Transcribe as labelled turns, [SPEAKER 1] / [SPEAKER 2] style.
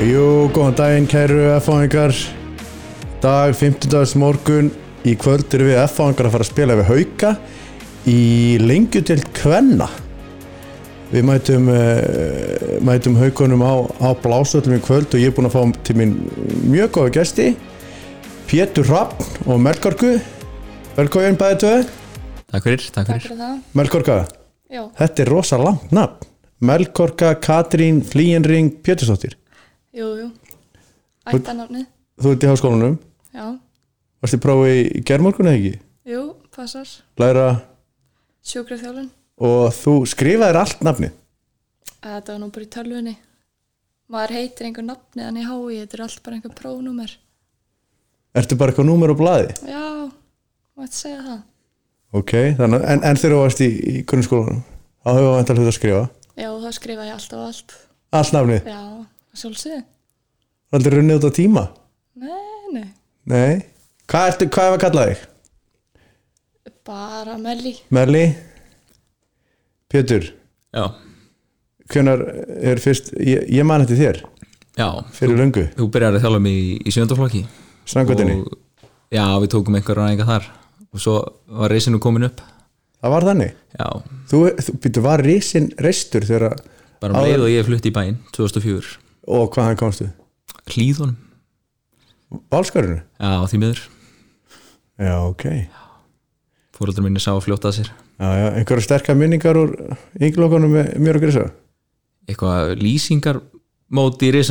[SPEAKER 1] Jú, góðan daginn kæru F-fáingar Dag 15. morgun Í kvöld erum við F-fáingar að fara að spila við Hauka Í lengju til Kvenna Við mætum, uh, mætum Haukunum á, á blásöllum í kvöld Og ég er búinn að fá til mín mjög góða gesti Pétur Rappn og Melkorku Velkóin bæði tvö
[SPEAKER 2] Takk fyrir, takk
[SPEAKER 3] Takk
[SPEAKER 2] fyrir
[SPEAKER 3] fyrir það.
[SPEAKER 1] Melkorka,
[SPEAKER 3] Já,
[SPEAKER 1] þetta er rosa langt nafn Melkorka, Katrín, Flíenring, Pétursdóttir
[SPEAKER 3] jú, jú. Ættanafnið,
[SPEAKER 1] Þú ert í háskólanum
[SPEAKER 3] já.
[SPEAKER 1] Varst þið prófi í gerðmorgun eða ekki?
[SPEAKER 3] Jú, passar.
[SPEAKER 1] Læra
[SPEAKER 3] Sjúkraþjálun.
[SPEAKER 1] og þú skrifaðir allt nafni
[SPEAKER 3] Þetta var nú bara í tölvunni. Maður heitir einhver nafni, þannig hái, þetta er allt bara einhver prófnúmer.
[SPEAKER 1] Ertu bara eitthvað númer á blaði?
[SPEAKER 3] Já, maður segja það.
[SPEAKER 1] Ok, þannig, en, en þegar þú varst í, í grunnskólanum þá hefur vantar hlut að skrifa
[SPEAKER 3] Já, þá skrifa ég allt og allt.
[SPEAKER 1] allt nafni,
[SPEAKER 3] Já, sjálfsögðu.
[SPEAKER 1] aldrei runnið út á tíma
[SPEAKER 3] Nei, nei.
[SPEAKER 1] Nei, hvað, ertu, hvað hefur kallað þig?
[SPEAKER 3] Bara Melli.
[SPEAKER 1] Merli? Pétur,
[SPEAKER 2] Já,
[SPEAKER 1] hvenar er fyrst ég, ég man þetta þér,
[SPEAKER 2] já
[SPEAKER 1] fyrir löngu
[SPEAKER 2] Þú byrjar að þjálfa mig í, í sjöndaflokki
[SPEAKER 1] Sangvöldinni,
[SPEAKER 2] Já, við tókum einhverja ræðinga þar og svo var reysinu komin upp
[SPEAKER 1] það var þannig
[SPEAKER 2] Já,
[SPEAKER 1] Þú, þú býttu var risin reistur þegar að
[SPEAKER 2] bara um leið og ég flutti í bæinn 2004,
[SPEAKER 1] og hvaðan komstu?
[SPEAKER 2] hlýðunum
[SPEAKER 1] Valskarinu?
[SPEAKER 2] Já, því miður,
[SPEAKER 1] Já, ok
[SPEAKER 2] fóröldur minni sá að fljóta að sér
[SPEAKER 1] Já, já, einhverja sterkar minningar úr ynglokunum með mér og Grisa?
[SPEAKER 2] eitthvað lýsingarmóti í reysinu